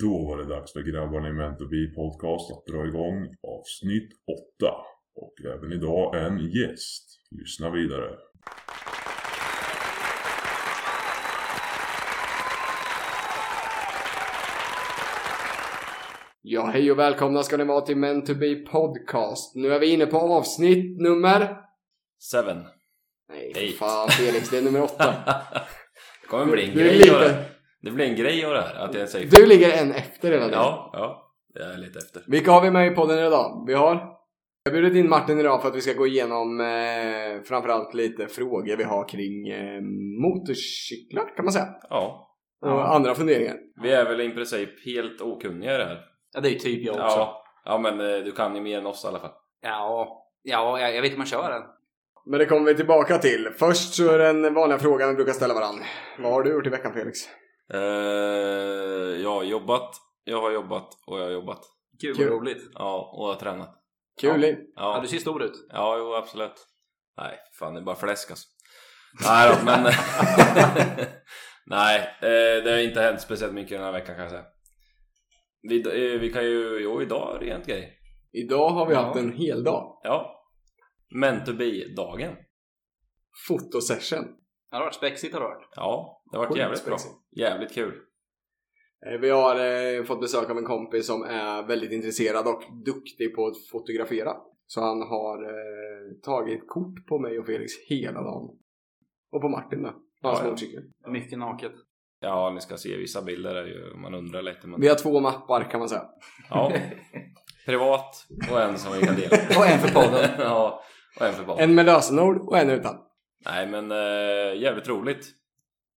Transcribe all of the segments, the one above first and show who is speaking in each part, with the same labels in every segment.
Speaker 1: Då var det dags för grabbarna i Mentor B Podcast att dra igång avsnitt 8. Och även idag en gäst. Lyssna vidare.
Speaker 2: Ja, hej och välkomna ska ni vara till Men to be podcast. Nu är vi inne på avsnitt nummer...
Speaker 3: Seven.
Speaker 2: Nej,
Speaker 3: Eight.
Speaker 2: fan Felix, det är nummer åtta.
Speaker 3: Det kommer bli en
Speaker 2: Du är
Speaker 3: grej
Speaker 2: lite-
Speaker 3: av det här. Det blir en grej av det här. Att jag säger
Speaker 2: Du ligger en efter redan nu.
Speaker 3: Ja, ja. Jag är lite efter.
Speaker 2: Vilka har vi med i podden idag? Vi har... Jag har bjudit in Martin idag för att vi ska gå igenom eh, framförallt lite frågor vi har kring eh, motorcyklar kan man säga.
Speaker 3: Ja.
Speaker 2: Och andra funderingar.
Speaker 3: Vi är väl i princip helt okunniga i det här.
Speaker 4: Ja, det är ju typ jag också. Ja,
Speaker 3: Ja. Ja men eh, du kan ju mer än oss i alla fall.
Speaker 4: ja, ja jag, jag vet hur man kör den.
Speaker 2: Men det kommer vi tillbaka till. Först så är den vanliga frågan vi brukar ställa varandra. Vad har du gjort i veckan Felix?
Speaker 3: Eh, jag har jobbat, jag har jobbat och jag har jobbat.
Speaker 4: Kul,
Speaker 2: Kul.
Speaker 4: vad roligt.
Speaker 3: Ja, och jag har tränat.
Speaker 2: Kul
Speaker 3: Ja.
Speaker 2: liv.
Speaker 4: Ja.
Speaker 3: Ja,
Speaker 4: du ser stor ut.
Speaker 3: ja jo absolut. Nej, fan det är bara fläsk alltså. Nej då, men... Nej, eh, det har inte hänt speciellt mycket den här veckan kan jag säga. Vi, eh, vi kan ju... Jo, idag är det rent grej.
Speaker 2: Idag har vi
Speaker 3: Ja.
Speaker 2: haft en hel dag.
Speaker 3: Ja. Men to be-dagen.
Speaker 2: Fotosession.
Speaker 4: Ja, det har varit spexigt har det varit.
Speaker 3: Ja, det har varit
Speaker 2: Sjukt
Speaker 3: jävligt bra.
Speaker 2: spexigt.
Speaker 3: Jävligt kul.
Speaker 2: Eh, Vi har eh, fått besök av en kompis som är väldigt intresserad och duktig på att fotografera. Så han har eh, tagit kort på mig och Felix hela dagen. Och på Martin med. Hans
Speaker 3: Ja, ja.
Speaker 2: motorcykel.
Speaker 4: Mycket naket.
Speaker 3: Ja, ni ska se vissa bilder är ju... Man undrar lite men...
Speaker 2: Vi har två mappar kan man säga.
Speaker 3: Ja. Privat och en som vi kan dela.
Speaker 4: Och en för podden.
Speaker 3: ja, och en för podden.
Speaker 2: En med lösenord och en utan.
Speaker 3: Nej men eh, jävligt roligt.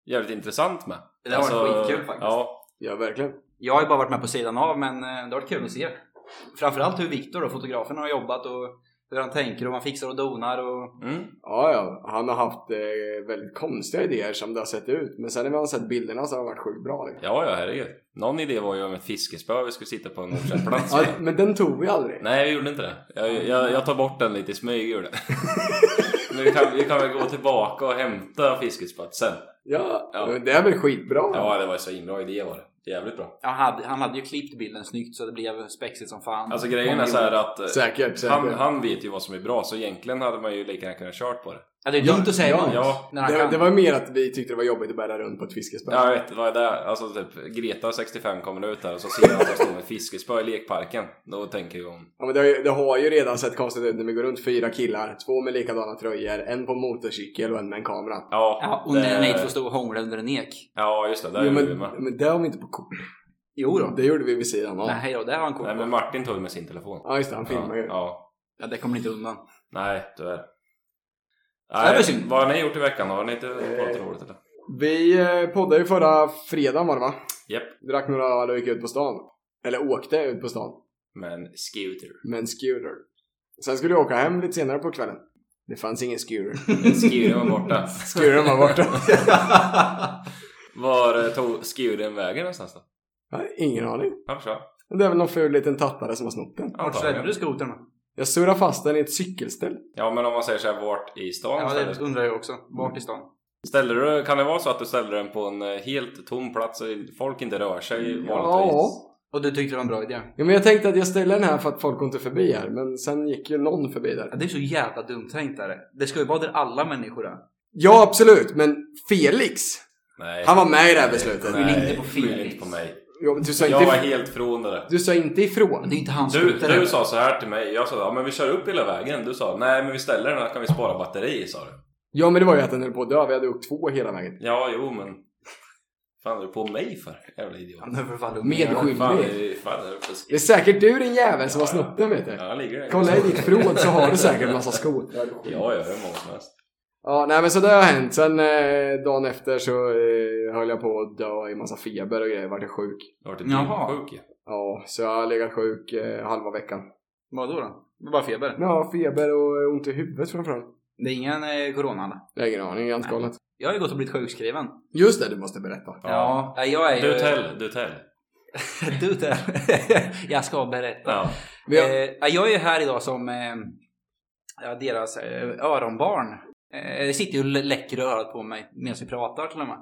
Speaker 3: Jävligt intressant med.
Speaker 4: Det har varit skitkul faktiskt.
Speaker 3: Alltså, Ja,
Speaker 2: Ja, verkligen.
Speaker 4: Jag har ju bara varit med på sidan av, men eh, det har varit kul att se. Framförallt hur Viktor, då, fotografen, har jobbat och hur han tänker och man fixar och donar och...
Speaker 3: mm,
Speaker 2: Ja, ja. Han har haft eh, väldigt konstiga idéer som det har sett ut. Men sen när man har sett bilderna så har de varit sjukt bra. Liksom.
Speaker 3: ja, ja herregud. Någon idé var ju om ett fiskespö vi skulle sitta på en okänd plats.
Speaker 2: Ja, men den tog vi aldrig.
Speaker 3: Nej, vi gjorde inte det. Jag, jag, jag tar bort den lite i smyg, gjorde jag. Men vi kan, vi kan väl gå tillbaka och hämta fiskespöet sen.
Speaker 2: Ja,
Speaker 3: Ja.
Speaker 2: Men det är väl skitbra?
Speaker 3: Ja, det var ju så himla idé var det. Jävligt bra.
Speaker 4: Ja, han, hade, han hade ju klippt bilden snyggt så det blev spexigt som fan.
Speaker 3: Alltså grejen är så här att eh,
Speaker 2: Säkert, säkert.
Speaker 3: han, han vet ju vad som är bra, så egentligen hade man ju lika gärna kunnat kört på det.
Speaker 4: Ja, det är dumt
Speaker 2: Ja,
Speaker 4: att säga
Speaker 2: ja,
Speaker 4: emot
Speaker 3: ja.
Speaker 4: när han
Speaker 2: det,
Speaker 4: kan.
Speaker 2: det var mer att vi tyckte det var jobbigt att bära runt på ett fiskespö.
Speaker 3: Ja, jag vet, det var det. Alltså typ Greta 65 kommer ut här och så ser jag att jag står med fiskespö i lekparken. Då tänker jag om...
Speaker 2: Ja, men det, har ju, det har ju redan sett konstigt ut när vi går runt fyra killar. Två med likadana tröjor, en på motorcykel och en med en kamera.
Speaker 3: Ja,
Speaker 4: Ja, och
Speaker 3: det-
Speaker 4: när Nate får stå och hångla under en ek.
Speaker 3: Ja, just det. Där
Speaker 2: jo,
Speaker 3: gjorde
Speaker 2: men,
Speaker 3: vi med.
Speaker 2: men det har vi inte på kort.
Speaker 4: Jo då.
Speaker 2: Det gjorde vi vid sidan av.
Speaker 4: Nej då, det har han kort
Speaker 3: Nej, men
Speaker 4: på.
Speaker 3: Martin tog med sin telefon.
Speaker 2: Ja, just det. Han filmar
Speaker 3: ja,
Speaker 2: ju.
Speaker 3: Ja.
Speaker 4: Ja, det kommer inte undan.
Speaker 3: Nej, tyvärr.
Speaker 4: det var
Speaker 3: Nej,
Speaker 4: synd.
Speaker 3: vad har ni gjort i veckan då? Har ni inte kollat roligt eller?
Speaker 2: Vi eh, poddade ju förra fredagen var det va?
Speaker 3: Japp.
Speaker 2: Drack några öl och gick ut på stan. Eller åkte ut på stan.
Speaker 3: Men scooter.
Speaker 2: Med en scooter. Sen skulle jag åka hem lite senare på kvällen. Det fanns ingen scooter.
Speaker 3: Skuren var borta.
Speaker 2: Scootern var borta.
Speaker 3: Var eh, tog skuren vägen någonstans då?
Speaker 2: Jag har ingen aning.
Speaker 3: Jag förstår.
Speaker 2: Det är väl någon ful liten tattare som har snott den.
Speaker 4: Vart
Speaker 3: Antagligen.
Speaker 4: svängde du skotern då?
Speaker 2: Jag surrar fast den i ett cykelställ.
Speaker 3: Ja men om man säger såhär vart i stan
Speaker 4: Ja,
Speaker 3: ställer
Speaker 4: det
Speaker 3: du?
Speaker 4: undrar jag också. Vart i stan?
Speaker 3: ställer du? Kan det vara så att du ställer den på en eh, helt tom plats och folk inte rör sig
Speaker 2: Ja.
Speaker 3: vanligtvis?
Speaker 4: Och du tyckte det var en bra idé?
Speaker 2: Ja, men jag tänkte att jag ställer den här för att folk går inte förbi här, men sen gick ju någon förbi där.
Speaker 4: Ja, det är så jävla dumt tänkt är det. Det ska ju vara där alla människor är.
Speaker 2: Ja, absolut, men Felix!
Speaker 3: Nej.
Speaker 2: Han var med i det här beslutet.
Speaker 3: Nej,
Speaker 4: Skyll inte på
Speaker 3: skyll
Speaker 4: Felix.
Speaker 3: inte på mig.
Speaker 2: Ja, men du, sa
Speaker 3: Jag var
Speaker 2: inte,
Speaker 3: helt från det där.
Speaker 2: du sa inte
Speaker 4: Men
Speaker 2: ifrån.
Speaker 4: det är inte hans
Speaker 3: Du,
Speaker 4: skuter heller.
Speaker 3: du sa så här till mig, jag sa ja men vi kör upp hela vägen. Du sa nej men vi ställer den här kan vi spara batteri sa du.
Speaker 2: Ja, men det var ju att den höll på att dö. Vi hade åkt två hela vägen.
Speaker 3: Ja jo men. Fan är du på mig för? Jävla idiot.
Speaker 4: Han är för fan dum.
Speaker 2: Medskyldig.
Speaker 3: Fan, är- fan är du på
Speaker 2: Det är säkert du din jävel som har snott den, vet du.
Speaker 3: Ja, ligger det.
Speaker 2: Kolla i ditt förråd så har du säkert en massa skotrar.
Speaker 3: Ja, ja, hur många som helst.
Speaker 2: Ja, nej men så det har hänt. Sen eh, dagen efter så eh, höll jag på att dö i massa feber och grejer. Vart jag sjuk.
Speaker 3: Jag har
Speaker 4: Jaha.
Speaker 3: varit sjuk ju.
Speaker 2: Ja, så jag har legat sjuk eh, halva veckan.
Speaker 4: Vadå då? Det var bara feber?
Speaker 2: Ja, feber och ont i huvudet framförallt.
Speaker 4: Det är ingen eh, corona eller?
Speaker 2: Jag har ingen aning, jag har inte kollat.
Speaker 4: Jag har ju gått och blivit sjukskriven.
Speaker 2: Just det, du måste berätta.
Speaker 3: Ja.
Speaker 4: Nej, jag är ju...
Speaker 3: Du tell, du tell.
Speaker 4: du tell. jag ska berätta.
Speaker 3: Ja.
Speaker 2: Vi har,
Speaker 4: Eh, ja, jag är ju här idag som eh, ja, deras eh, öronbarn. Eh, det sitter ju och lä- läcker i örat på mig medan vi pratar till och med.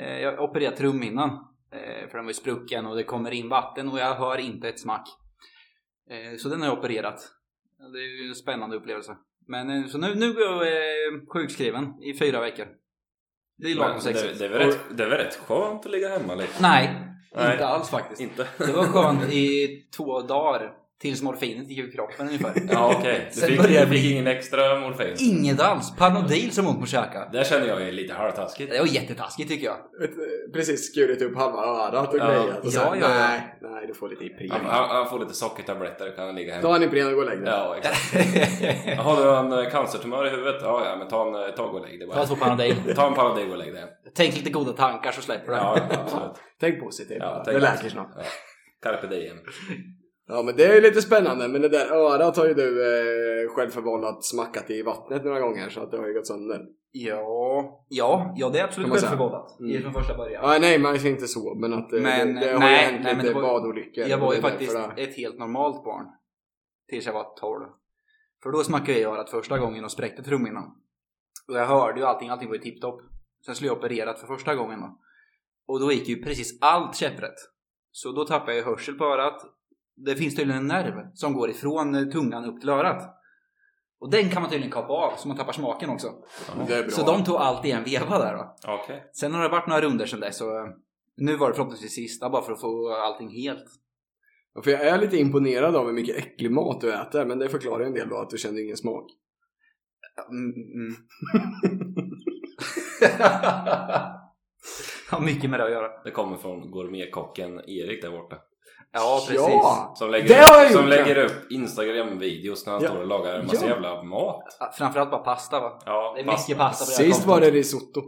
Speaker 4: Eh, jag har opererat trumhinnan. Eh, För den var ju sprucken och det kommer in vatten och jag hör inte ett smack. Eh, Så den har jag opererat. Ja, Det är ju en spännande upplevelse. Men eh, så nu, nu går jag eh, sjukskriven i fyra veckor. Det är lagom
Speaker 3: Men det,
Speaker 4: sexigt.
Speaker 3: det, är väl rätt, det är väl rätt skönt att ligga hemma lite?
Speaker 4: Nej,
Speaker 3: Nej.
Speaker 4: inte alls faktiskt.
Speaker 3: Inte?
Speaker 4: Det var skönt i två dagar tills morfinet gick ur kroppen ungefär.
Speaker 3: Ja okej,
Speaker 4: Sen
Speaker 3: du, fick-
Speaker 4: började
Speaker 3: du
Speaker 4: vi-
Speaker 3: fick ingen extra morfin?
Speaker 4: Inget alls! Panodil som ont på käka.
Speaker 3: Det känner jag är lite halvtaskigt.
Speaker 4: Det var jättetaskigt tycker jag.
Speaker 2: Ett, eh, precis skurit upp halva örat och
Speaker 3: Ja.
Speaker 2: grejat. Och så,
Speaker 4: Ja, ja, ja.
Speaker 2: Nej, nej, du får lite Ipren.
Speaker 3: Han, han, han får lite sockertabletter och kan ligga hemma.
Speaker 2: Ta en Ipren och gå och lägg dig.
Speaker 3: Ja, exakt. Jaha, du har en eh, cancertumör i huvudet? Ja, ja, men ta en eh, ta och lägg dig bara.
Speaker 4: Ta två Panodil.
Speaker 3: Ta en Panodil och lägg dig.
Speaker 4: Tänk lite goda tankar så släpper det.
Speaker 3: Ja, absolut.
Speaker 2: Tänk positivt.
Speaker 3: Ja,
Speaker 2: det
Speaker 3: tänk-
Speaker 2: läker snart.
Speaker 3: Ja. Carpe diem.
Speaker 2: Ja, men det är ju lite spännande. Men det där örat har ju du eh, självförvållat smackat i vattnet några gånger så att det har ju gått sönder.
Speaker 4: Ja, ja, ja det är absolut
Speaker 2: Kan man säga.
Speaker 4: självförvållat.
Speaker 2: Mm.
Speaker 4: Det är från första början.
Speaker 2: Ja, nej, man ser inte så, men att eh,
Speaker 4: Men,
Speaker 2: det, det har
Speaker 4: nej,
Speaker 2: ju hänt
Speaker 4: nej, men
Speaker 2: lite
Speaker 4: det var-
Speaker 2: badolyckor.
Speaker 4: Jag var ju
Speaker 2: Det är
Speaker 4: faktiskt
Speaker 2: därför det-
Speaker 4: ett helt normalt barn. Tills jag var 12. För då smackade jag i örat första gången och spräckte trumhinnan. Och jag hörde ju allting, allting var ju tipptopp. Sen skulle jag opererat för första gången då. Och då gick ju precis allt käpprätt. Så då tappade jag ju hörsel på örat. Det finns tydligen en nerv som går ifrån eh, tungan upp till örat. Och den kan man tydligen kapa av så man tappar smaken också.
Speaker 2: Det är bra.
Speaker 4: Så de tog allt i en veva där då.
Speaker 3: Okej.
Speaker 4: Sen har det varit några runder sedan dess och eh, nu var det förhoppningsvis sista bara för att få allting helt.
Speaker 2: Ja, För jag är lite imponerad av hur mycket äcklig mat du äter, men det förklarar ju en del då att du känner ingen smak.
Speaker 4: Mm, mm. Har mycket med det att göra.
Speaker 3: Det kommer från gourmetkocken Erik där borta.
Speaker 4: Ja, precis.
Speaker 2: Ja!
Speaker 3: Som
Speaker 2: Det har jag
Speaker 3: lägger, upp, som
Speaker 2: gjort,
Speaker 3: lägger upp Instagram-videos när han
Speaker 2: Ja.
Speaker 3: står och lagar en massa
Speaker 2: Ja.
Speaker 3: jävla mat.
Speaker 4: Ja, Framförallt bara pasta va?
Speaker 3: Ja,
Speaker 4: Det är
Speaker 3: fast-
Speaker 4: mycket pasta på det här
Speaker 2: Sist var
Speaker 4: kontot.
Speaker 2: det risotto.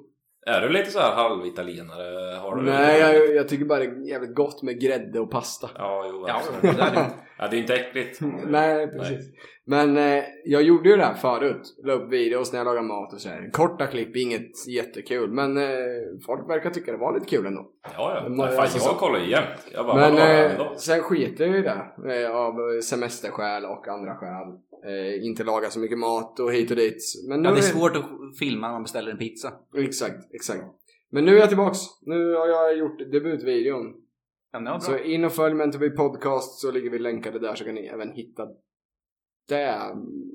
Speaker 3: Är du lite så här halvitalienare? Har du
Speaker 2: Nej, jag, jag tycker bara det är jävligt gott med grädde och pasta.
Speaker 3: Ja, jo,
Speaker 4: Ja,
Speaker 3: absolut.
Speaker 4: det där är det.
Speaker 3: Ja, det är inte äckligt.
Speaker 2: Nej, precis. Men eh, jag gjorde ju det här förut. La upp videos när jag lagade mat och så här. Korta klipp, inget jättekul. Men eh, folk verkar tycka det var lite kul ändå.
Speaker 3: Ja, ja.
Speaker 2: Men,
Speaker 3: Nej,
Speaker 2: alltså,
Speaker 3: fan,
Speaker 2: så-
Speaker 3: jag kollar ju jämt. Jag bara,
Speaker 2: Men
Speaker 3: vad lagar han
Speaker 2: eh,
Speaker 3: då?
Speaker 2: sen skiter jag ju i det. Eh, av semesterskäl och andra skäl. Eh, inte laga så mycket mat och hit och dit. Men nu
Speaker 4: Ja, det är svårt att filma när man beställer en pizza.
Speaker 2: Exakt, exakt. Men nu är jag tillbaks. Nu har jag gjort debutvideon.
Speaker 4: Ja, men det var
Speaker 2: Så
Speaker 4: bra.
Speaker 2: in och följ Mentor Bee Podcast så ligger vi länkade där så kan ni även hitta det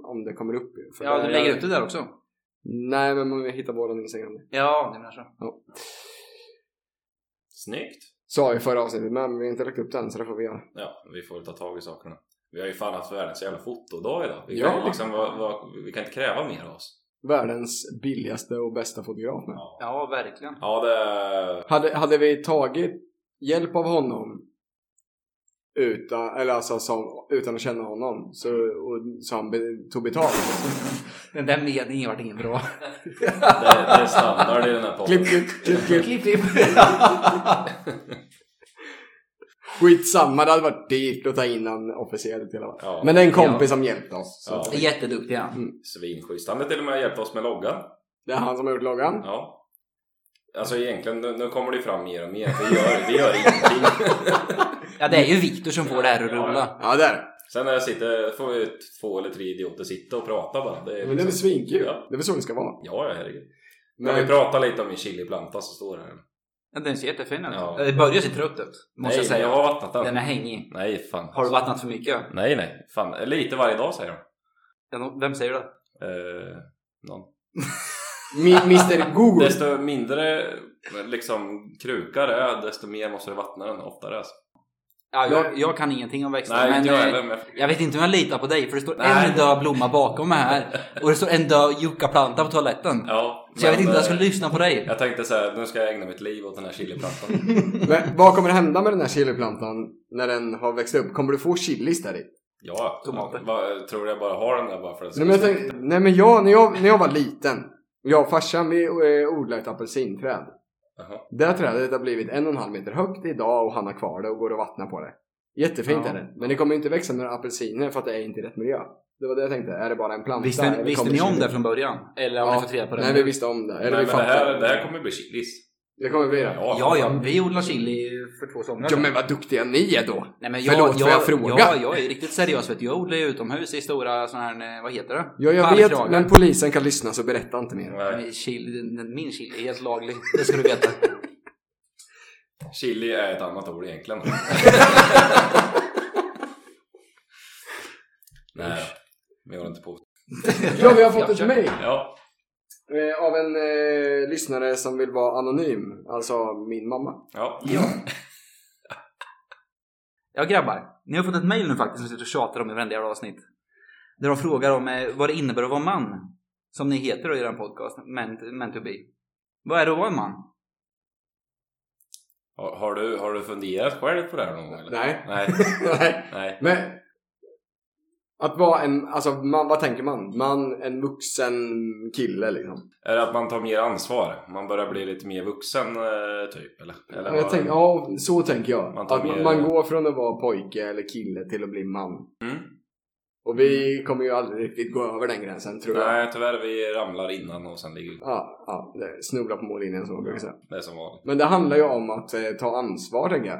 Speaker 2: om det kommer upp. För
Speaker 4: Ja,
Speaker 2: där-
Speaker 4: du lägger ut det där också?
Speaker 2: Nej, men man hittar våran Instagram.
Speaker 4: Ja, det menar så.
Speaker 2: Ja.
Speaker 3: Snyggt.
Speaker 2: Sa i förra avsnittet, men vi har inte lagt upp den så det får vi göra.
Speaker 3: Ja, vi får väl ta tag i sakerna. Vi har ju fan haft världens jävla fotodag idag. Vi
Speaker 2: Ja.
Speaker 3: kan, ju liksom, vad, vad, vi kan inte kräva mer av oss.
Speaker 2: Världens billigaste och bästa fotograf med.
Speaker 3: Ja,
Speaker 4: Ja, verkligen.
Speaker 3: ja det...
Speaker 2: Hade, hade vi tagit hjälp av honom utan, eller alltså som, utan att känna honom så, och, så han be, tog betalt.
Speaker 4: Den där meningen vart ingen bra.
Speaker 3: Det, det är standard i den här podden.
Speaker 2: Klipp, klipp, klipp, klipp.
Speaker 4: klipp, klipp.
Speaker 2: Skitsamma, det hade varit dyrt att ta in han officiellt i alla fall.
Speaker 3: Ja.
Speaker 2: Men det är en kompis som hjälpte oss. Så
Speaker 3: Ja.
Speaker 4: Jätteduktiga.
Speaker 3: Svinschysst. Han har till och med hjälpt oss med loggan.
Speaker 2: Det är han som har gjort loggan.
Speaker 3: Ja. Alltså egentligen, nu, nu kommer det ju fram mer och mer. Vi gör, vi gör ingenting.
Speaker 4: Ja, det är ju Viktor som får det här att rulla.
Speaker 2: Ja, det är det.
Speaker 3: Sen när jag sitter, får vi två eller tre idioter sitta och prata bara. Det
Speaker 2: Men
Speaker 3: är
Speaker 2: det är väl
Speaker 3: liksom,
Speaker 2: svinkul?
Speaker 3: Ja.
Speaker 2: Det är väl så det ska vara?
Speaker 3: ja, ja, herregud. Kan vi
Speaker 2: Men,
Speaker 3: prata lite om min chiliplanta som står här?
Speaker 4: Ja, den ser jättefin ut.
Speaker 3: Ja.
Speaker 4: Det börjar se trött ut, måste
Speaker 3: Nej,
Speaker 4: jag säga.
Speaker 3: jag har vattnat den.
Speaker 4: Den är hängig.
Speaker 3: Nej, fan.
Speaker 4: Har du vattnat för mycket?
Speaker 3: Nej, nej. Fan, lite varje dag säger de.
Speaker 4: Ja, nå- Vem säger det?
Speaker 3: Eh, någon.
Speaker 2: Mi- Mr
Speaker 4: Mm.
Speaker 2: Google.
Speaker 3: Desto mindre liksom, krukar det är, desto mer måste du vattna den oftare. Alltså.
Speaker 4: Ja, jag, jag kan ingenting om växter.
Speaker 3: Nej,
Speaker 4: men,
Speaker 3: inte jag
Speaker 4: eh,
Speaker 3: heller. Men...
Speaker 4: jag vet inte om jag litar på dig för det står
Speaker 3: Nej.
Speaker 4: en död blomma bakom mig här och det står en död yuccaplanta på toaletten.
Speaker 3: Ja,
Speaker 4: så jag vet
Speaker 3: men,
Speaker 4: inte om jag
Speaker 3: eh,
Speaker 4: skulle lyssna på dig.
Speaker 3: Jag tänkte så här, nu ska jag ägna mitt liv åt den här chiliplantan.
Speaker 2: Men vad kommer hända med den här chiliplantan när den har växt upp? Kommer du få chilis där i?
Speaker 3: Ja,
Speaker 4: Tomater.
Speaker 3: Vad, tror du jag bara har den där bara för att
Speaker 2: Nej men, jag tänkte, nej, men jag, när, jag, när jag var liten. Jag och farsan vi eh, odlade ett apelsinträd.
Speaker 3: Jaha.
Speaker 2: Det här trädet har blivit en och en halv meter högt idag och han har kvar det och går och vattnar på det. Jättefint
Speaker 4: Ja.
Speaker 2: är det. Men det kommer ju inte växa några apelsiner för att det är inte i rätt miljö. Det var det jag tänkte. Är det bara en planta? eller
Speaker 4: Visste,
Speaker 2: kommer
Speaker 4: visste ni om
Speaker 2: chili?
Speaker 4: det från början? Eller har ni fått reda på det
Speaker 2: Nej,
Speaker 4: nu?
Speaker 2: vi visste om det. Eller vi
Speaker 3: Nej, men det,
Speaker 2: fattade.
Speaker 3: här, det här kommer bli chilis.
Speaker 2: Det kommer bli det.
Speaker 4: Ja, ja, vi odlar chili för två somrar
Speaker 2: Ja,
Speaker 4: sedan.
Speaker 2: men vad duktiga ni är då!
Speaker 4: Nej, men
Speaker 2: Förlåt, får jag fråga?
Speaker 4: Ja, jag är ju riktigt seriös. Vet du. Jag odlar ju utomhus i stora sådana här, eh, vad heter det?
Speaker 2: Ja, jag
Speaker 4: Pallkragar.
Speaker 2: vet, men polisen kan lyssna så berätta inte mer.
Speaker 3: Nej.
Speaker 4: Men Chili, den- min chili är helt laglig, det ska du veta.
Speaker 3: Chili är ett annat ord egentligen. Nej, men jag håller inte på.
Speaker 2: Ja, vi har fått ett
Speaker 4: Jag-
Speaker 2: mejl
Speaker 3: Ja,
Speaker 2: eh, av en eh, lyssnare som vill vara anonym. Alltså min mamma.
Speaker 3: ja.
Speaker 4: Ja grabbar, ni har fått ett mejl nu faktiskt som vi sitter och tjatar om i varenda jävla avsnitt. Där de frågar om eh, vad det innebär att vara man. Som ni heter då i den podcast, men, men to be. Vad är det att vara en man?
Speaker 3: Har, har, du, har du funderat själv på det här någon gång? Eller?
Speaker 2: Nej.
Speaker 3: Nej.
Speaker 2: Nej.
Speaker 3: Nej.
Speaker 2: Men att vara en, alltså man, vad tänker man? Man, en vuxen kille liksom.
Speaker 3: Är det att man tar mer ansvar? Man börjar bli lite mer vuxen eh, typ? Eller? eller
Speaker 2: jag
Speaker 3: vad-
Speaker 2: tänker, ja, så tänker jag.
Speaker 3: Man tar
Speaker 2: att man,
Speaker 3: mer-
Speaker 2: man går från att vara pojke eller kille till att bli man.
Speaker 3: Mm.
Speaker 2: Och vi kommer ju aldrig riktigt gå över den gränsen tror jag.
Speaker 3: Nej, tyvärr vi ramlar innan och sen ligger vi
Speaker 2: Ja, ja, det- snubbla på mållinjen som man brukar säga.
Speaker 3: Det är som vanligt.
Speaker 2: Men det handlar ju om att eh, ta ansvar tänker jag.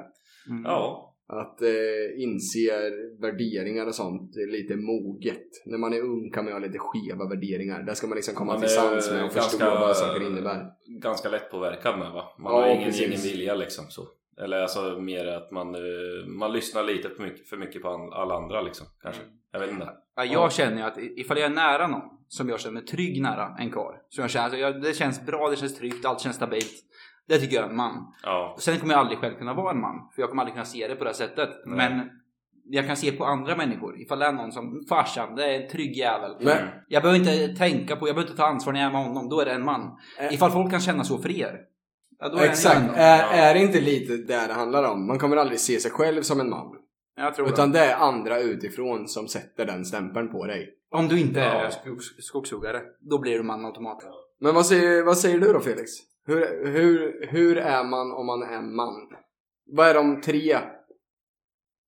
Speaker 4: Mm.
Speaker 3: Ja.
Speaker 2: Att eh, inse värderingar och sånt är lite moget. När man är ung kan man ju ha lite skeva värderingar. Där ska man liksom komma
Speaker 3: Man
Speaker 2: till
Speaker 3: är
Speaker 2: sans med och
Speaker 3: ganska-
Speaker 2: förstå vad saker innebär.
Speaker 3: Ganska lättpåverkad med va? Man
Speaker 2: Ja,
Speaker 3: har ingen,
Speaker 2: precis.
Speaker 3: ingen vilja liksom så. Eller alltså mer att man, eh, man lyssnar lite för mycket, för mycket på an- alla andra liksom. Kanske.
Speaker 2: Mm.
Speaker 3: Jag vet inte.
Speaker 4: Ja, jag känner ju att i- ifall jag är nära någon som jag känner mig trygg nära, en karl. Så jag känner, alltså, jag, det känns bra, det känns tryggt, allt känns stabilt. Det tycker jag är en man.
Speaker 3: Ja.
Speaker 4: Sen kommer jag aldrig själv kunna vara en man, för jag kommer aldrig kunna se det på det här sättet.
Speaker 3: Nej.
Speaker 4: Men jag kan se på andra människor, ifall det är någon som farsan, det är en trygg jävel.
Speaker 2: Men
Speaker 3: Mm.
Speaker 4: Jag behöver inte tänka på, jag behöver inte ta ansvar när jag är med honom, då är det en man.
Speaker 2: Mm. Eh.
Speaker 4: Ifall folk kan känna så för er, ja, då är det en
Speaker 2: Exakt, Eh,
Speaker 4: man.
Speaker 2: är,
Speaker 3: Ja.
Speaker 2: är det inte lite där det handlar om? Man kommer aldrig se sig själv som en man.
Speaker 4: Jag tror
Speaker 2: Utan
Speaker 4: det.
Speaker 2: det är andra utifrån som sätter den stämpeln på dig.
Speaker 4: Om du inte är
Speaker 3: Ja.
Speaker 4: skogs, skogshuggare, då blir du man automatiskt.
Speaker 2: Men vad säger, vad säger du då Felix? Hur, hur, hur är man om man är man? Vad är de tre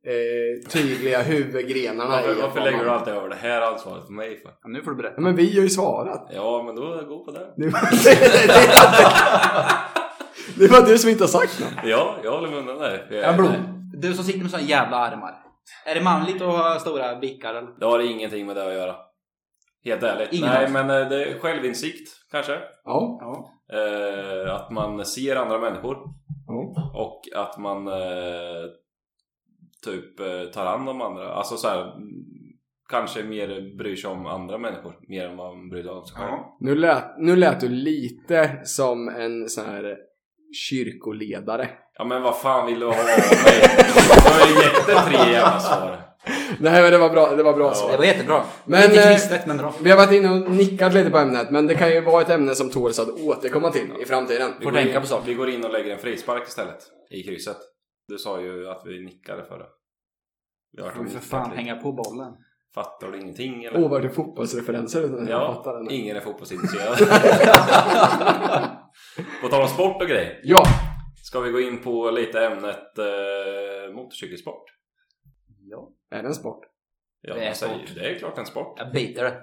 Speaker 2: eh, tydliga huvudgrenarna i
Speaker 3: Varför,
Speaker 2: att
Speaker 3: varför
Speaker 2: vara
Speaker 3: lägger du
Speaker 2: man?
Speaker 3: alltid över det här ansvaret på mig för?
Speaker 4: Ja, nu får du berätta.
Speaker 2: Ja, men vi har ju svarat.
Speaker 3: Ja, men då gå på det.
Speaker 2: Det var, det, det var du som inte har sagt något.
Speaker 3: Ja, jag håller med om det där. Jag-
Speaker 4: Ja, Blom, du som sitter med såna jävla armar. Är det manligt att ha stora bickar eller?
Speaker 3: Det har ingenting med det att göra. Helt ärligt.
Speaker 4: Ingen
Speaker 3: Nej,
Speaker 4: alls.
Speaker 3: men eh, det är självinsikt kanske.
Speaker 2: Ja.
Speaker 4: Ja.
Speaker 3: Eh, att man ser andra människor.
Speaker 2: ja.
Speaker 4: Mm.
Speaker 3: Och att man eh, typ eh, tar hand om andra. Alltså så här, mm, kanske mer bryr sig om andra människor. Mer än man bryr sig om sig själv.
Speaker 4: Ja.
Speaker 2: Nu, lät, nu lät du lite som en sån här kyrkoledare.
Speaker 3: Ja men vad fan vill du ha av mig? Du har ju gett det tre jävla svar.
Speaker 2: Nej men det var bra, det var bra
Speaker 4: Det
Speaker 2: svar.
Speaker 4: var jättebra.
Speaker 2: Men,
Speaker 4: Men, Lite
Speaker 2: eh,
Speaker 4: kristet men bra.
Speaker 2: Vi har varit inne och nickat lite på ämnet men det kan ju vara ett ämne som tåls att återkomma till i framtiden.
Speaker 3: Vi
Speaker 4: Får
Speaker 3: går in-
Speaker 4: tänka på saker.
Speaker 3: Vi går in och lägger en frispark istället. I krysset. Du sa ju att vi nickade för det. Vi har varit
Speaker 4: Får vi för
Speaker 3: nickat
Speaker 4: fan
Speaker 3: lite.
Speaker 4: hänga på bollen.
Speaker 3: Fattar du ingenting eller?
Speaker 2: Åh, Oh, vad det är fotbollsreferenser utan jag
Speaker 3: ja,
Speaker 2: fattar den.
Speaker 3: ingen är fotbollsintresserad. på tal om sport och grejer.
Speaker 2: Ja,
Speaker 3: Ska vi gå in på lite ämnet eh, motorcykelsport?
Speaker 4: Ja.
Speaker 2: är det en sport?
Speaker 3: Ja,
Speaker 4: Det är
Speaker 3: man säger,
Speaker 4: sport.
Speaker 3: det är klart en sport.
Speaker 4: Jag biter det.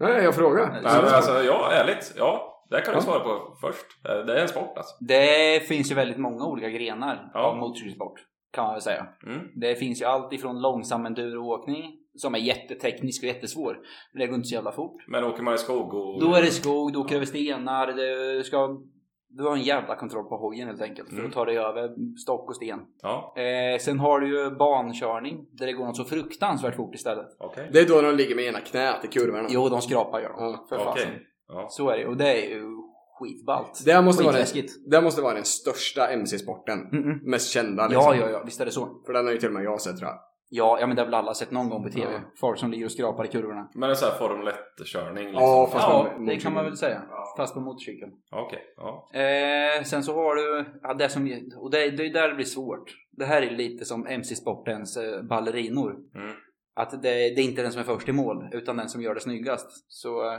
Speaker 2: Nej, jag frågar.
Speaker 4: Nej,
Speaker 3: Nej, men alltså, ja, ärligt. Ja, det kan du
Speaker 2: Ja.
Speaker 3: svara på först. Eh, Det är en sport alltså.
Speaker 4: Det finns ju väldigt många olika grenar
Speaker 3: Ja.
Speaker 4: av motorcykelsport. Kan man väl säga.
Speaker 3: Mm.
Speaker 4: Det finns ju allt ifrån långsam enduroåkning som är jätteteknisk och jättesvår. Men det går inte så jävla fort.
Speaker 3: Men åker man i skog och...
Speaker 4: Då är det skog, du åker över stenar, du ska... Du har en jävla kontroll på hojen helt enkelt för
Speaker 3: Mm.
Speaker 4: att ta dig över stock och sten.
Speaker 3: Ja,
Speaker 4: Eh, sen har du ju bankörning där det går något så fruktansvärt fort istället.
Speaker 3: okej.
Speaker 2: Det är då de ligger med ena knät i kurvorna.
Speaker 4: Jo, de skrapar gör de.
Speaker 2: Ja.
Speaker 4: För
Speaker 3: Okej.
Speaker 4: fasen.
Speaker 3: Ja.
Speaker 4: Så är det och det är ju skitballt.
Speaker 2: Det här måste vara den,
Speaker 4: Skitläskigt.
Speaker 2: det här måste vara den största MC-sporten.
Speaker 4: Mm-mm.
Speaker 2: Mest kända liksom.
Speaker 4: Ja, ja, ja, visst är det så.
Speaker 2: För den har ju till och med jag sett tror jag.
Speaker 4: Ja, ja men det har väl alla sett någon gång på TV.
Speaker 2: Ja.
Speaker 4: Folk som ligger och skrapar i kurvorna.
Speaker 3: Men en sån här Formel 1-körning liksom.
Speaker 2: Ja, fast- på
Speaker 4: Ja, det
Speaker 2: motorcykel.
Speaker 4: kan man väl säga. Fast på motorcykel.
Speaker 3: Ja, Okej, ja.
Speaker 4: Eh, sen så har du, ja, det som, vi- och det, det är där det blir svårt. Det här är lite som MC-sportens eh, ballerinor.
Speaker 3: Mm.
Speaker 4: Att det, det är inte den som är först i mål, utan den som gör det snyggast. Så eh,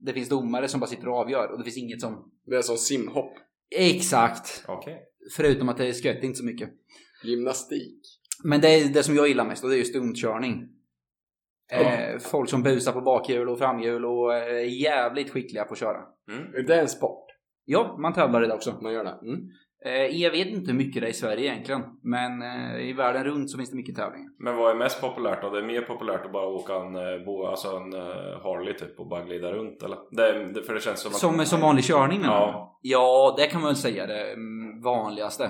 Speaker 4: det finns domare som bara sitter och avgör och det finns inget som...
Speaker 2: Det är som simhopp.
Speaker 4: Exakt!
Speaker 3: Okej.
Speaker 4: Förutom att det är skött inte så mycket.
Speaker 2: Gymnastik.
Speaker 4: Men det är det som jag gillar mest och det är ju stuntkörning. Eh, folk som busar på bakhjul och framhjul och eh, är jävligt skickliga på att köra.
Speaker 3: Mm.
Speaker 2: Det är en sport.
Speaker 4: Ja, man tävlar i det också.
Speaker 2: Man gör det. Mm.
Speaker 4: Eh, jag vet inte hur mycket det är i Sverige egentligen, men eh, i världen runt så finns det mycket tävlingar.
Speaker 3: Men vad är mest populärt då? Det är mer populärt att bara åka en, eh, bo, alltså en eh, Harley typ och bara glida runt eller? Det, är- det, för det känns som att...
Speaker 4: Som, som vanlig körning menar
Speaker 3: Ja.
Speaker 4: du? Ja, det kan man väl säga det mm, vanligaste.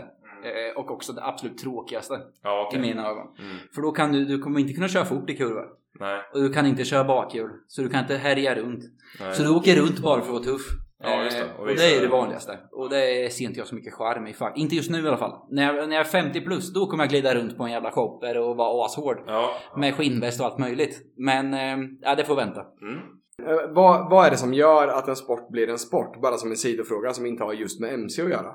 Speaker 4: Eh, och också det absolut tråkigaste
Speaker 3: Ja, okej.
Speaker 4: i mina ögon.
Speaker 3: Mm.
Speaker 4: För då kan du, du kommer inte kunna köra fort i kurvor.
Speaker 3: Nej,
Speaker 4: Och du kan inte köra bakhjul. Så du kan inte härja runt.
Speaker 3: nej.
Speaker 4: Så du åker runt bara för att vara tuff.
Speaker 3: Ja, just det.
Speaker 4: Eh,
Speaker 3: Och
Speaker 4: Och,
Speaker 3: visa
Speaker 4: det är
Speaker 3: det.
Speaker 4: det vanligaste. Och det ser inte jag så mycket charm i. Fuck. Inte just nu i alla fall. När jag, när jag är 50 plus, då kommer jag glida runt på en jävla shopper och vara ashård.
Speaker 3: Ja.
Speaker 4: Med skinnväst och allt möjligt. Men eh, ja, det får vänta.
Speaker 3: Mm.
Speaker 2: Eh, Vad, vad är det som gör att en sport blir en sport? Bara som en sidofråga som inte har just med MC att göra.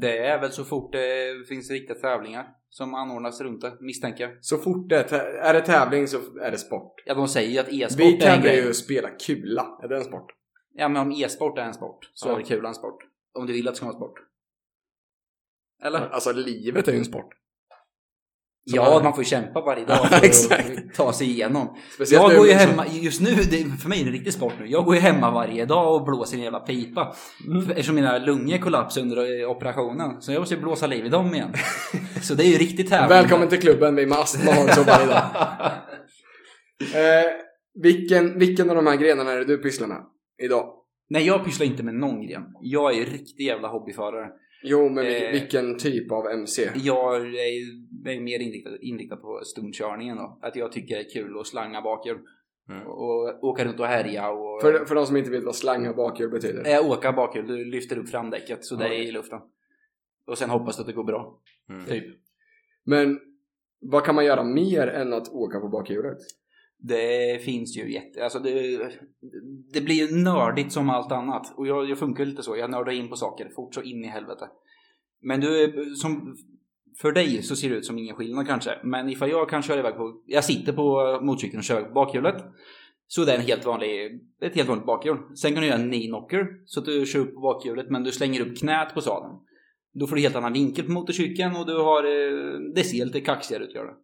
Speaker 4: Det är väl så fort det finns riktiga tävlingar som anordnas runt det, misstänker jag.
Speaker 2: Så fort det är, tä- är det tävling så är det sport.
Speaker 4: Ja, de säger ju att e-sport
Speaker 2: Vi
Speaker 4: är en
Speaker 2: tävlar
Speaker 4: grej.
Speaker 2: ju att spela kula. Är det en sport?
Speaker 4: Ja, men om e-sport är en sport så
Speaker 3: Ja.
Speaker 4: är det kul en sport. Om du vill att det ska vara en sport. Eller?
Speaker 2: Alltså livet är ju en sport.
Speaker 4: Ja, man får ju kämpa varje dag för
Speaker 2: Exakt.
Speaker 4: att ta sig igenom.
Speaker 2: Speciellt
Speaker 4: Jag går ju
Speaker 2: nu-
Speaker 4: hemma, just nu, det, är- för mig är det en riktig sport nu. Jag går ju hemma varje dag och blåser i en jävla pipa. För- Eftersom mina lungor kollapsade under eh, operationen. Så jag måste ju blåsa liv i dem igen. Så det är ju riktigt tävling.
Speaker 2: Välkommen till klubben, vi med astma har det så varje dag. Eh, vilken, vilken av de här grenarna är det du pysslar med idag?
Speaker 4: Nej, jag pysslar inte med någon gren. Jag är ju riktig jävla hobbyförare.
Speaker 2: Jo, men vil-
Speaker 4: Eh.
Speaker 2: vilken typ av MC?
Speaker 4: Jag är, ju- är mer inriktad, inriktad på stuntkörningen då. Att jag tycker det är kul att slanga bakhjul.
Speaker 3: Mm.
Speaker 4: Och åka runt och härja och...
Speaker 2: För, för de som inte vet vad slang och bakhjul betyder.
Speaker 4: Eh, åka bakhjul, du lyfter upp framdäcket så det är i luften. Och sen hoppas du att det går bra.
Speaker 3: Mm.
Speaker 4: Typ.
Speaker 2: Men vad kan man göra mer än att åka på bakhjulet?
Speaker 4: Det finns ju jätte... Alltså det, det blir ju nördigt som allt annat. Och jag, jag funkar lite så. Jag nördar in på saker fort så in i helvete. Men du, är- som... För dig så ser det ut som ingen skillnad kanske. Men ifall jag kan köra iväg på... Jag sitter på motorcykeln och kör bakhjulet. Så det är en helt vanlig, ett helt vanligt bakhjul. Sen kan du göra en knee knocker. Så att du kör upp på bakhjulet men du slänger upp knät på sadeln. Då får du helt annan vinkel på motorcykeln och du har... eh, Det ser lite kaxigare ut gör det.
Speaker 2: Mm.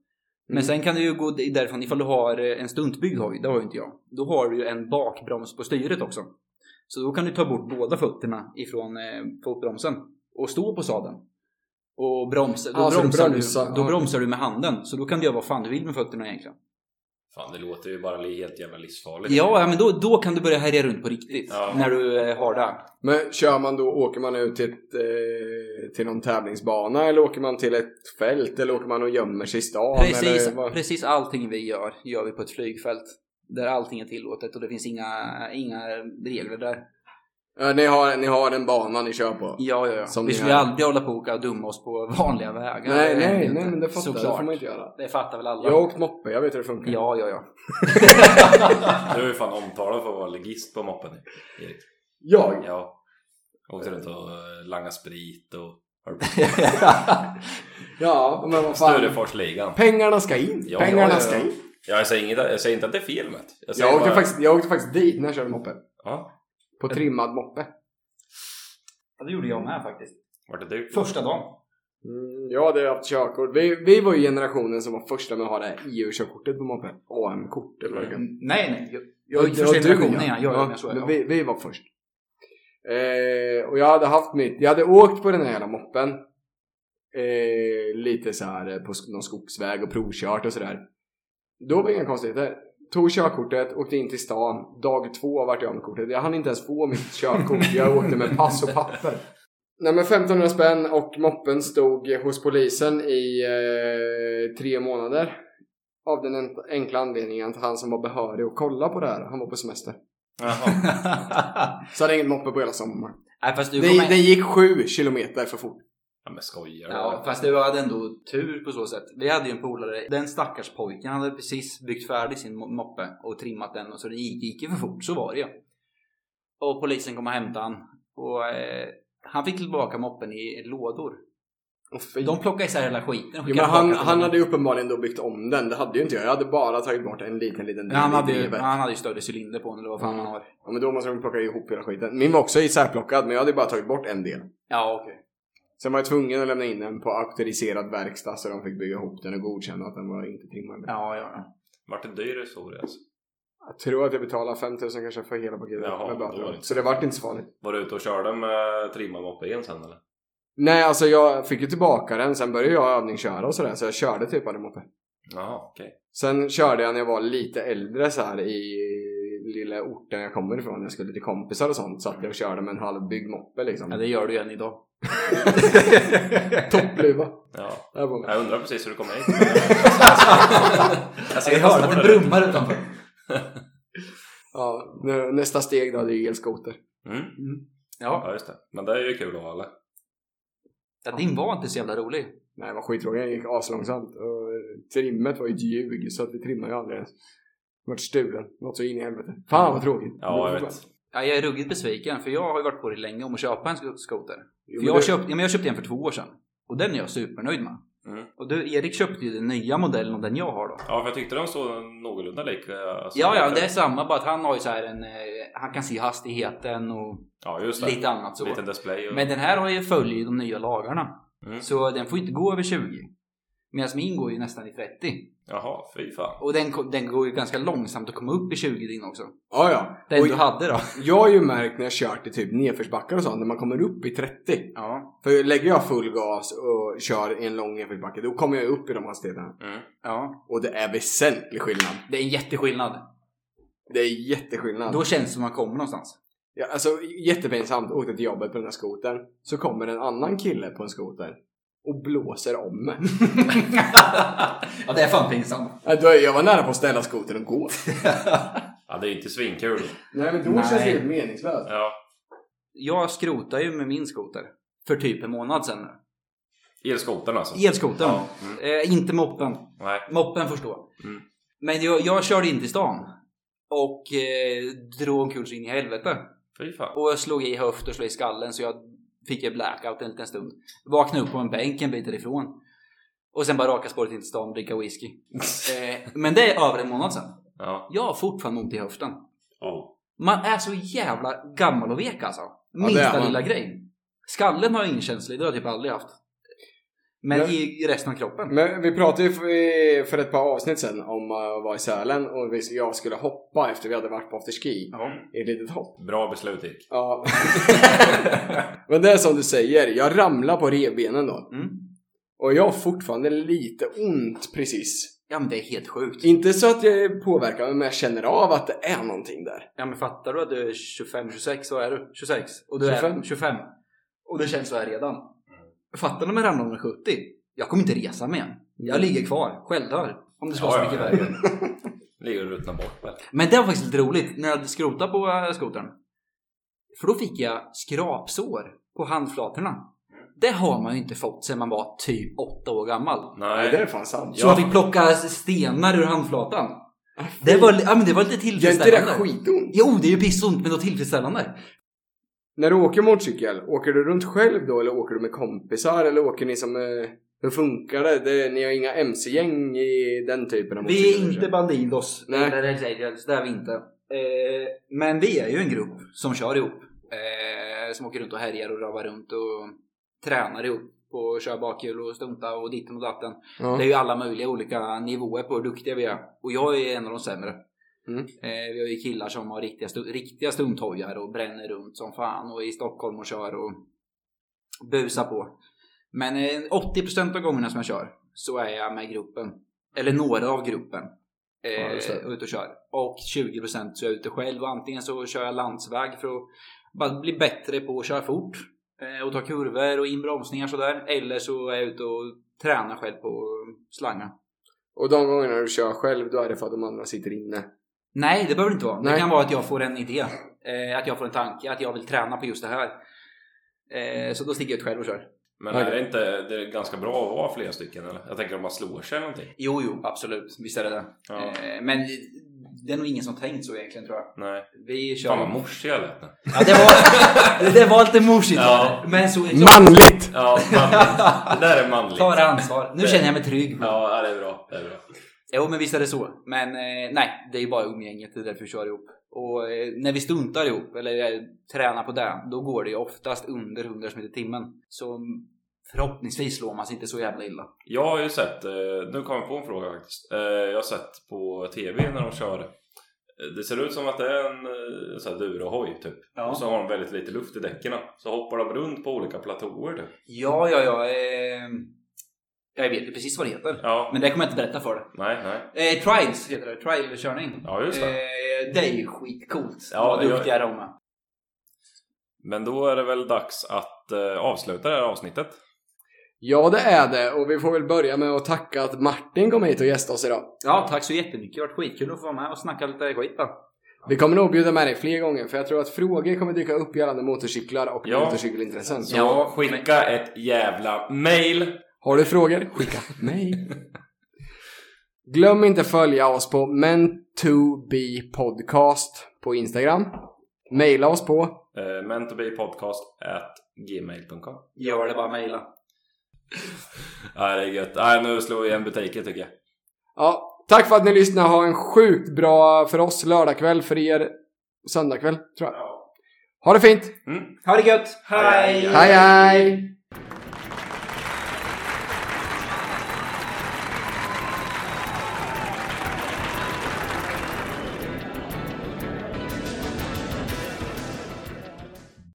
Speaker 4: Men sen kan du ju gå därifrån ifall du har eh, en stuntbyggd hoj, det har ju inte jag. Då har du ju en bakbroms på styret också. Så då kan du ta bort båda fötterna ifrån eh, fotbromsen och stå på sadeln. Och bromsa, då,
Speaker 2: Ah, så du
Speaker 4: bromsar,
Speaker 2: bromsar,
Speaker 4: du, då
Speaker 2: ja.
Speaker 4: bromsar du med handen. Så då kan du göra vad fan du vill med fötterna egentligen.
Speaker 3: Fan, det låter ju bara helt jävla livsfarligt.
Speaker 4: Ja, ja, men då, då kan du börja härja runt på riktigt.
Speaker 3: Ja.
Speaker 4: När du eh, har det.
Speaker 2: Men kör man då, åker man ut till, ett, eh, till någon tävlingsbana eller åker man till ett fält eller åker man och gömmer sig i stan?
Speaker 4: Precis,
Speaker 2: eller vad?
Speaker 4: precis allting vi gör, gör vi på ett flygfält. Där allting är tillåtet och det finns inga, inga regler där.
Speaker 2: Ja, ni, har, ni har en bana ni kör på?
Speaker 4: Ja, ja, ja.
Speaker 2: Som
Speaker 4: vi
Speaker 2: ni
Speaker 4: skulle
Speaker 2: gör.
Speaker 4: aldrig hålla på och åka och dumma oss på vanliga vägar.
Speaker 2: Nej,
Speaker 4: Det är
Speaker 2: nej,
Speaker 4: ju
Speaker 2: nej,
Speaker 4: inte-
Speaker 2: men det fattar jag. Det
Speaker 4: Såklart.
Speaker 2: får man inte göra.
Speaker 4: Det fattar väl alla.
Speaker 2: Jag har åkt moppe, jag vet hur det funkar.
Speaker 4: Ja, ja, ja.
Speaker 3: Du är ju fan omtalad för att vara legist på moppen Erik.
Speaker 2: Jag?
Speaker 3: Ja. Åkte runt och eh, langade sprit och...
Speaker 2: Ja, men vad fan.
Speaker 3: Stureforsligan.
Speaker 2: Pengarna ska in!
Speaker 3: Ja,
Speaker 2: Pengarna
Speaker 3: ja, ja.
Speaker 2: ska in!
Speaker 3: Ja, jag, säger inget, jag säger inte att det är fel Matt. Jag säger
Speaker 2: Jag åkte,
Speaker 3: bara-
Speaker 2: faktiskt, jag åkte faktiskt dit när jag körde moppe.
Speaker 3: Ja,
Speaker 2: På trimmad moppe.
Speaker 4: Ja, det gjorde jag med faktiskt.
Speaker 3: vart det dyrt?
Speaker 4: Första dagen.
Speaker 2: Mm, jag hade haft körkort. Vi, vi var ju generationen som var första med att ha det här EU-körkortet på moppe. AM-kortet. var det kanske.
Speaker 4: Nej, nej. Jag, jag gick
Speaker 2: Ja,
Speaker 4: Mm. första
Speaker 2: du,
Speaker 4: generationen
Speaker 2: ja.
Speaker 4: igen. Jag,
Speaker 2: Ja,
Speaker 4: jag, jag, så är
Speaker 2: men
Speaker 4: jag,
Speaker 2: vi, vi var först. Eh, och jag hade haft mitt, jag hade åkt på den här jävla moppen. Eh, lite så här eh, på sk- någon skogsväg och provkört och sådär. Då var det inga konstigheter. Tog körkortet, åkte in till stan. Dag två vart jag av med kortet. Jag hann inte ens få mitt körkort. Jag åkte med pass och papper. Nej men 1500 spänn och moppen stod hos polisen i eh, tre månader. Av den en- enkla anledningen att han som var behörig att kolla på det här, han var på semester.
Speaker 3: Jaha.
Speaker 2: Så hade jag ingen moppe på hela sommaren.
Speaker 4: nej, fast du
Speaker 2: Den,
Speaker 4: kom
Speaker 2: den gick sju kilometer för fort.
Speaker 3: Ja, men skojar du?
Speaker 4: Ja, fast du hade ändå tur på så sätt. Vi hade ju en polare, den stackars pojken hade precis byggt färdig sin mo- moppe och trimmat den och så det gick, gick ju för fort, så var det ju. Och polisen kom och hämtade han. Och eh, han fick tillbaka moppen i lådor.
Speaker 2: Åh, fy.
Speaker 4: De plockade isär hela skiten och
Speaker 2: jo,
Speaker 4: skickade
Speaker 2: men han,
Speaker 4: tillbaka
Speaker 2: han
Speaker 4: den.
Speaker 2: hade ju uppenbarligen då byggt om den. Det hade ju inte jag. Jag hade bara tagit bort en liten, liten
Speaker 4: Men han, hade
Speaker 2: i
Speaker 4: ju,
Speaker 2: drivet.
Speaker 4: han hade ju större cylinder på honom eller vad fan
Speaker 2: Mm.
Speaker 4: han har.
Speaker 2: Ja, men då måste de plocka ihop hela skiten. Min var också isärplockad, men jag hade bara tagit bort en del.
Speaker 4: Ja, okej.
Speaker 2: Sen var jag tvungen att lämna in den på auktoriserad verkstad så de fick bygga ihop den och godkänna att den var inte trimmad.
Speaker 4: Ja, ja, ja.
Speaker 3: Vart det dyr historia alltså?
Speaker 2: Jag tror att jag betalade 5000 kanske för hela paketet
Speaker 3: Jaha,
Speaker 2: med
Speaker 3: då var
Speaker 2: böter.
Speaker 3: det-
Speaker 2: Så det vart inte så farligt.
Speaker 3: Var du ute och körde med trimmad moppe igen sen eller?
Speaker 2: Nej, alltså jag fick ju tillbaka den. Sen började jag övningsköra och sådär. Så jag körde typ aldrig moppe.
Speaker 3: Jaha, okej.
Speaker 2: Sen körde jag när jag var lite äldre så här i lilla orten jag kommer ifrån. Jag skulle till kompisar och sånt. Satt jag och körde med en halvbyggd moppe liksom.
Speaker 4: ja det gör du ju än idag.
Speaker 2: Toppluva.
Speaker 3: Ja.
Speaker 2: Där var
Speaker 3: Jag undrar precis hur du kommer hit. jag
Speaker 4: Jag
Speaker 3: ser
Speaker 4: hörde att det
Speaker 3: att du
Speaker 4: brummar utanför.
Speaker 2: Ja, nu- nästa steg då, det är elskoter.
Speaker 3: mm.
Speaker 4: Ja,
Speaker 3: Ja, just det. Men det är ju kul att ha eller?
Speaker 4: ja din var inte så jävla rolig.
Speaker 2: Nej, vad skittråkigt. Den gick aslångsamt. Och eh, trimmet var ju ett ljug, så att vi trimmade ju aldrig ens. Den Vart stulen. Något så in i helvete. Fan vad tråkigt.
Speaker 3: Ja, jag vet.
Speaker 4: Ja, jag är ruggigt besviken för jag har ju varit på det länge om att köpa en sk- skoter.
Speaker 2: Jo,
Speaker 4: För
Speaker 2: men
Speaker 4: jag,
Speaker 2: det-
Speaker 4: köpt, ja, men jag köpte en för två år sedan och den är jag supernöjd med.
Speaker 3: Mm.
Speaker 4: Och du, Erik köpte ju den nya modellen och den jag har då.
Speaker 3: Ja, för jag tyckte de såg någorlunda lika. Alltså,
Speaker 4: Ja, ja, det är samma bara att han har ju så här en, eh, han kan se hastigheten och
Speaker 3: Ja, just det.
Speaker 4: lite annat så.
Speaker 3: Liten display och...
Speaker 4: Men den här har ju följer ju de nya lagarna.
Speaker 3: Mm.
Speaker 4: Så den får ju inte gå över 20. Medan min går ju nästan i 30.
Speaker 3: Jaha, fy fan.
Speaker 4: Och den, ko- den går ju ganska långsamt att komma upp i 20 din också.
Speaker 2: Ja, ja.
Speaker 4: Den
Speaker 2: Och
Speaker 4: du hade då.
Speaker 2: jag har ju märkt när jag kört i typ nedförsbackar och sånt, när man kommer upp i 30.
Speaker 4: Ja.
Speaker 2: För lägger jag full gas och kör i en lång nedförsbacke, då kommer jag upp i de hastigheterna.
Speaker 3: Mm.
Speaker 4: ja.
Speaker 2: Och det är väsentlig skillnad.
Speaker 4: Det är en jätteskillnad.
Speaker 2: Det är jätteskillnad.
Speaker 4: Då känns det som man kommer någonstans.
Speaker 2: Ja, alltså jättepinsamt, åkte till jobbet på den här skotern. Så kommer en annan kille på en skoter och blåser om mig.
Speaker 4: ja, det är fan pinsamt.
Speaker 2: Ja, Äh, då- Jag var nära på att ställa skotern och gå.
Speaker 3: Ja, det är inte svinkul.
Speaker 2: Nej men då
Speaker 4: Nej.
Speaker 2: känns det helt meningslöst.
Speaker 3: Ja.
Speaker 4: Jag skrotar ju med min skoter. För typ en månad sedan nu.
Speaker 3: Elskotern alltså.
Speaker 4: Elskotern.
Speaker 3: Ja, mm.
Speaker 4: Eh, inte moppen.
Speaker 3: Nej.
Speaker 4: Moppen förstå.
Speaker 3: Mm.
Speaker 4: Men jag, jag körde in till stan. Och eh, drog omkull så in i helvete.
Speaker 3: Fy fan.
Speaker 4: Och jag slog i höft och slog i skallen så jag fick en blackout en liten stund. Vaknade upp på en bänk en bit därifrån. Och sen bara raka spåret in till stan och dricka whisky. Eh, men det är över en månad sedan.
Speaker 3: Ja.
Speaker 4: Jag har fortfarande ont i höften.
Speaker 1: Ja.
Speaker 4: Man är så jävla gammal och vek alltså.
Speaker 2: det är
Speaker 4: Minsta
Speaker 2: man.
Speaker 4: lilla grej. Skallen har jag ingen känsla i, det har jag typ aldrig haft. Men
Speaker 2: Men-
Speaker 4: i i resten av kroppen.
Speaker 2: Men vi pratade ju för- för ett par avsnitt sedan om äh, att vara i Sälen och vi- jag skulle hoppa efter vi hade varit på afterski.
Speaker 4: Ja.
Speaker 2: I ett litet hopp.
Speaker 3: Bra beslut Dick.
Speaker 2: Ja. men det är som du säger, jag ramlar på revbenen då.
Speaker 4: Mm.
Speaker 2: Och jag har fortfarande lite ont precis.
Speaker 4: ja men det är helt sjukt.
Speaker 2: Inte så att jag är påverkad, men jag känner av att det är någonting där.
Speaker 4: Ja men fattar du att du är 25, 26, vad är du? 26? Och du
Speaker 2: 25.
Speaker 4: är 25. Och det känns så här redan. Mm. Fattar du om jag ramlar om jag är 70? Jag kommer inte resa mig igen. Jag ligger kvar, självdör. Om det ska
Speaker 3: Ja,
Speaker 4: så
Speaker 3: ja,
Speaker 4: mycket
Speaker 3: ja.
Speaker 4: värre.
Speaker 3: Ligger och ruttnar bort väl?
Speaker 4: Men det var faktiskt lite roligt när jag hade skrotat på eh, skotern. För då fick jag skrapsår på handflatorna. Det har man ju inte fått sedan man var typ 8 år gammal.
Speaker 2: Nej, det
Speaker 3: Nej.
Speaker 2: är fan sant.
Speaker 3: Ja.
Speaker 4: Så man fick plocka stenar ur handflatan. Det var, li- ja, men det var lite
Speaker 2: Gör inte
Speaker 4: tillfredsställande.
Speaker 2: det skitont?
Speaker 4: Jo, det är ju pissont men då tillfredsställande.
Speaker 2: När du åker motorcykel, åker du runt själv då eller åker du med kompisar eller åker ni som... Eh, hur funkar det? det? Ni har inga MC-gäng i den typen av
Speaker 4: Vi är
Speaker 2: motorcykel,
Speaker 4: inte Bandidos.
Speaker 2: Nej.
Speaker 4: Eller Hells Angels, det är vi inte. Eh, men vi är ju en grupp som kör ihop. Eh, som åker runt och härjar och ravar runt och tränar ihop och kör bakhjul och stunta och ditten och datten.
Speaker 2: Ja.
Speaker 4: Det är ju alla möjliga olika nivåer på hur duktiga vi är. Och jag är en av de sämre.
Speaker 2: Mm.
Speaker 4: Eh, vi har ju killar som har riktiga, stu- riktiga stumtojar och bränner runt som fan och är i Stockholm och kör och busar på. Men eh, 80% av gångerna som jag kör så är jag med gruppen. Eller några av gruppen.
Speaker 2: Ja, just det.
Speaker 4: Eh, ute och kör. Och 20% så är jag ute själv och antingen så kör jag landsväg för att bara bli bättre på att köra fort. eh, Och ta kurvor och inbromsningar sådär. Eller så är jag ute och tränar själv på slangar.
Speaker 2: Och de gångerna du kör själv, då är det för att de andra sitter inne.
Speaker 4: Nej, det behöver det inte vara.
Speaker 2: Nej.
Speaker 4: Det kan vara att jag får en idé. Eh, Att jag får en tanke, att jag vill träna på just det här. Eh, Så då sticker jag ut själv och kör.
Speaker 3: Men är det inte det är ganska bra att vara flera stycken eller? Jag tänker om man slår sig eller någonting.
Speaker 4: Jo, jo, absolut. Visst är det det.
Speaker 3: Ja.
Speaker 4: Eh, Men det är nog ingen som tänkt så egentligen tror jag.
Speaker 3: Nej.
Speaker 4: Vi kör...
Speaker 3: Fan vad morsig jag lät nu.
Speaker 4: ja, det, var, det, det var lite morsigt.
Speaker 3: Ja.
Speaker 4: Men så är det.
Speaker 2: Manligt!
Speaker 3: Ja, manligt. Det där är manligt.
Speaker 4: Tar ansvar. Nu
Speaker 3: Det-
Speaker 4: känner jag mig trygg.
Speaker 3: Ja, det är bra. Det är bra.
Speaker 4: Jo men visst är det så. Men eh, nej, det är ju bara umgänget, det är därför vi kör ihop. Och eh, när vi stuntar ihop, eller eh, tränar på det, då går det ju oftast under 100 meter i timmen. Så mm, förhoppningsvis slår man sig inte så jävla illa.
Speaker 3: Jag har ju sett, eh, nu kom jag på en fråga faktiskt. Eh, Jag har sett på TV när de kör. eh, Det ser ut som att det är en eh, sån här durohoj typ.
Speaker 4: Ja.
Speaker 3: Och så har de väldigt lite luft i däcken. Så hoppar de runt på olika platåer typ.
Speaker 4: Ja, ja, ja. Eh, jag vet ju precis vad det heter.
Speaker 3: Ja,
Speaker 4: Men det kommer jag inte berätta för dig.
Speaker 3: nej, nej.
Speaker 4: Eh, trials heter det, trial-körning.
Speaker 3: Ja, just det.
Speaker 4: Eh, det är ju skitcoolt.
Speaker 3: Ja,
Speaker 4: Ja, vad
Speaker 3: jag-
Speaker 4: duktiga de är.
Speaker 3: Men då är det väl dags att att eh, avsluta det här avsnittet.
Speaker 2: Ja, det är det. Och vi får väl börja med att tacka att Martin kom hit och gästade oss idag.
Speaker 4: Ja, tack så jättemycket. Det har varit skitkul att få vara med och snacka lite skit då.
Speaker 2: Vi kommer nog bjuda med dig fler gånger för jag tror att frågor kommer dyka upp gällande motorcyklar och
Speaker 3: Ja.
Speaker 2: motorcykelintressen. Så
Speaker 4: Ja,
Speaker 3: Skicka ett jävla mail!
Speaker 2: har du frågor, skicka mig. Glöm inte följa oss på men2bpodcast på Instagram. Maila oss på.
Speaker 3: Eh, mentobipodcast at gmail.com
Speaker 4: Gör det bara mejla.
Speaker 3: Nej, det är gött. Nej, nu slår vi igen butiken tycker jag.
Speaker 2: Ja, tack för att ni lyssnade. Ha en sjukt bra för oss lördagkväll för er söndagkväll tror jag. Ha det fint!
Speaker 3: Mm.
Speaker 4: Ha det gött!
Speaker 3: Hej!
Speaker 2: Hej hej!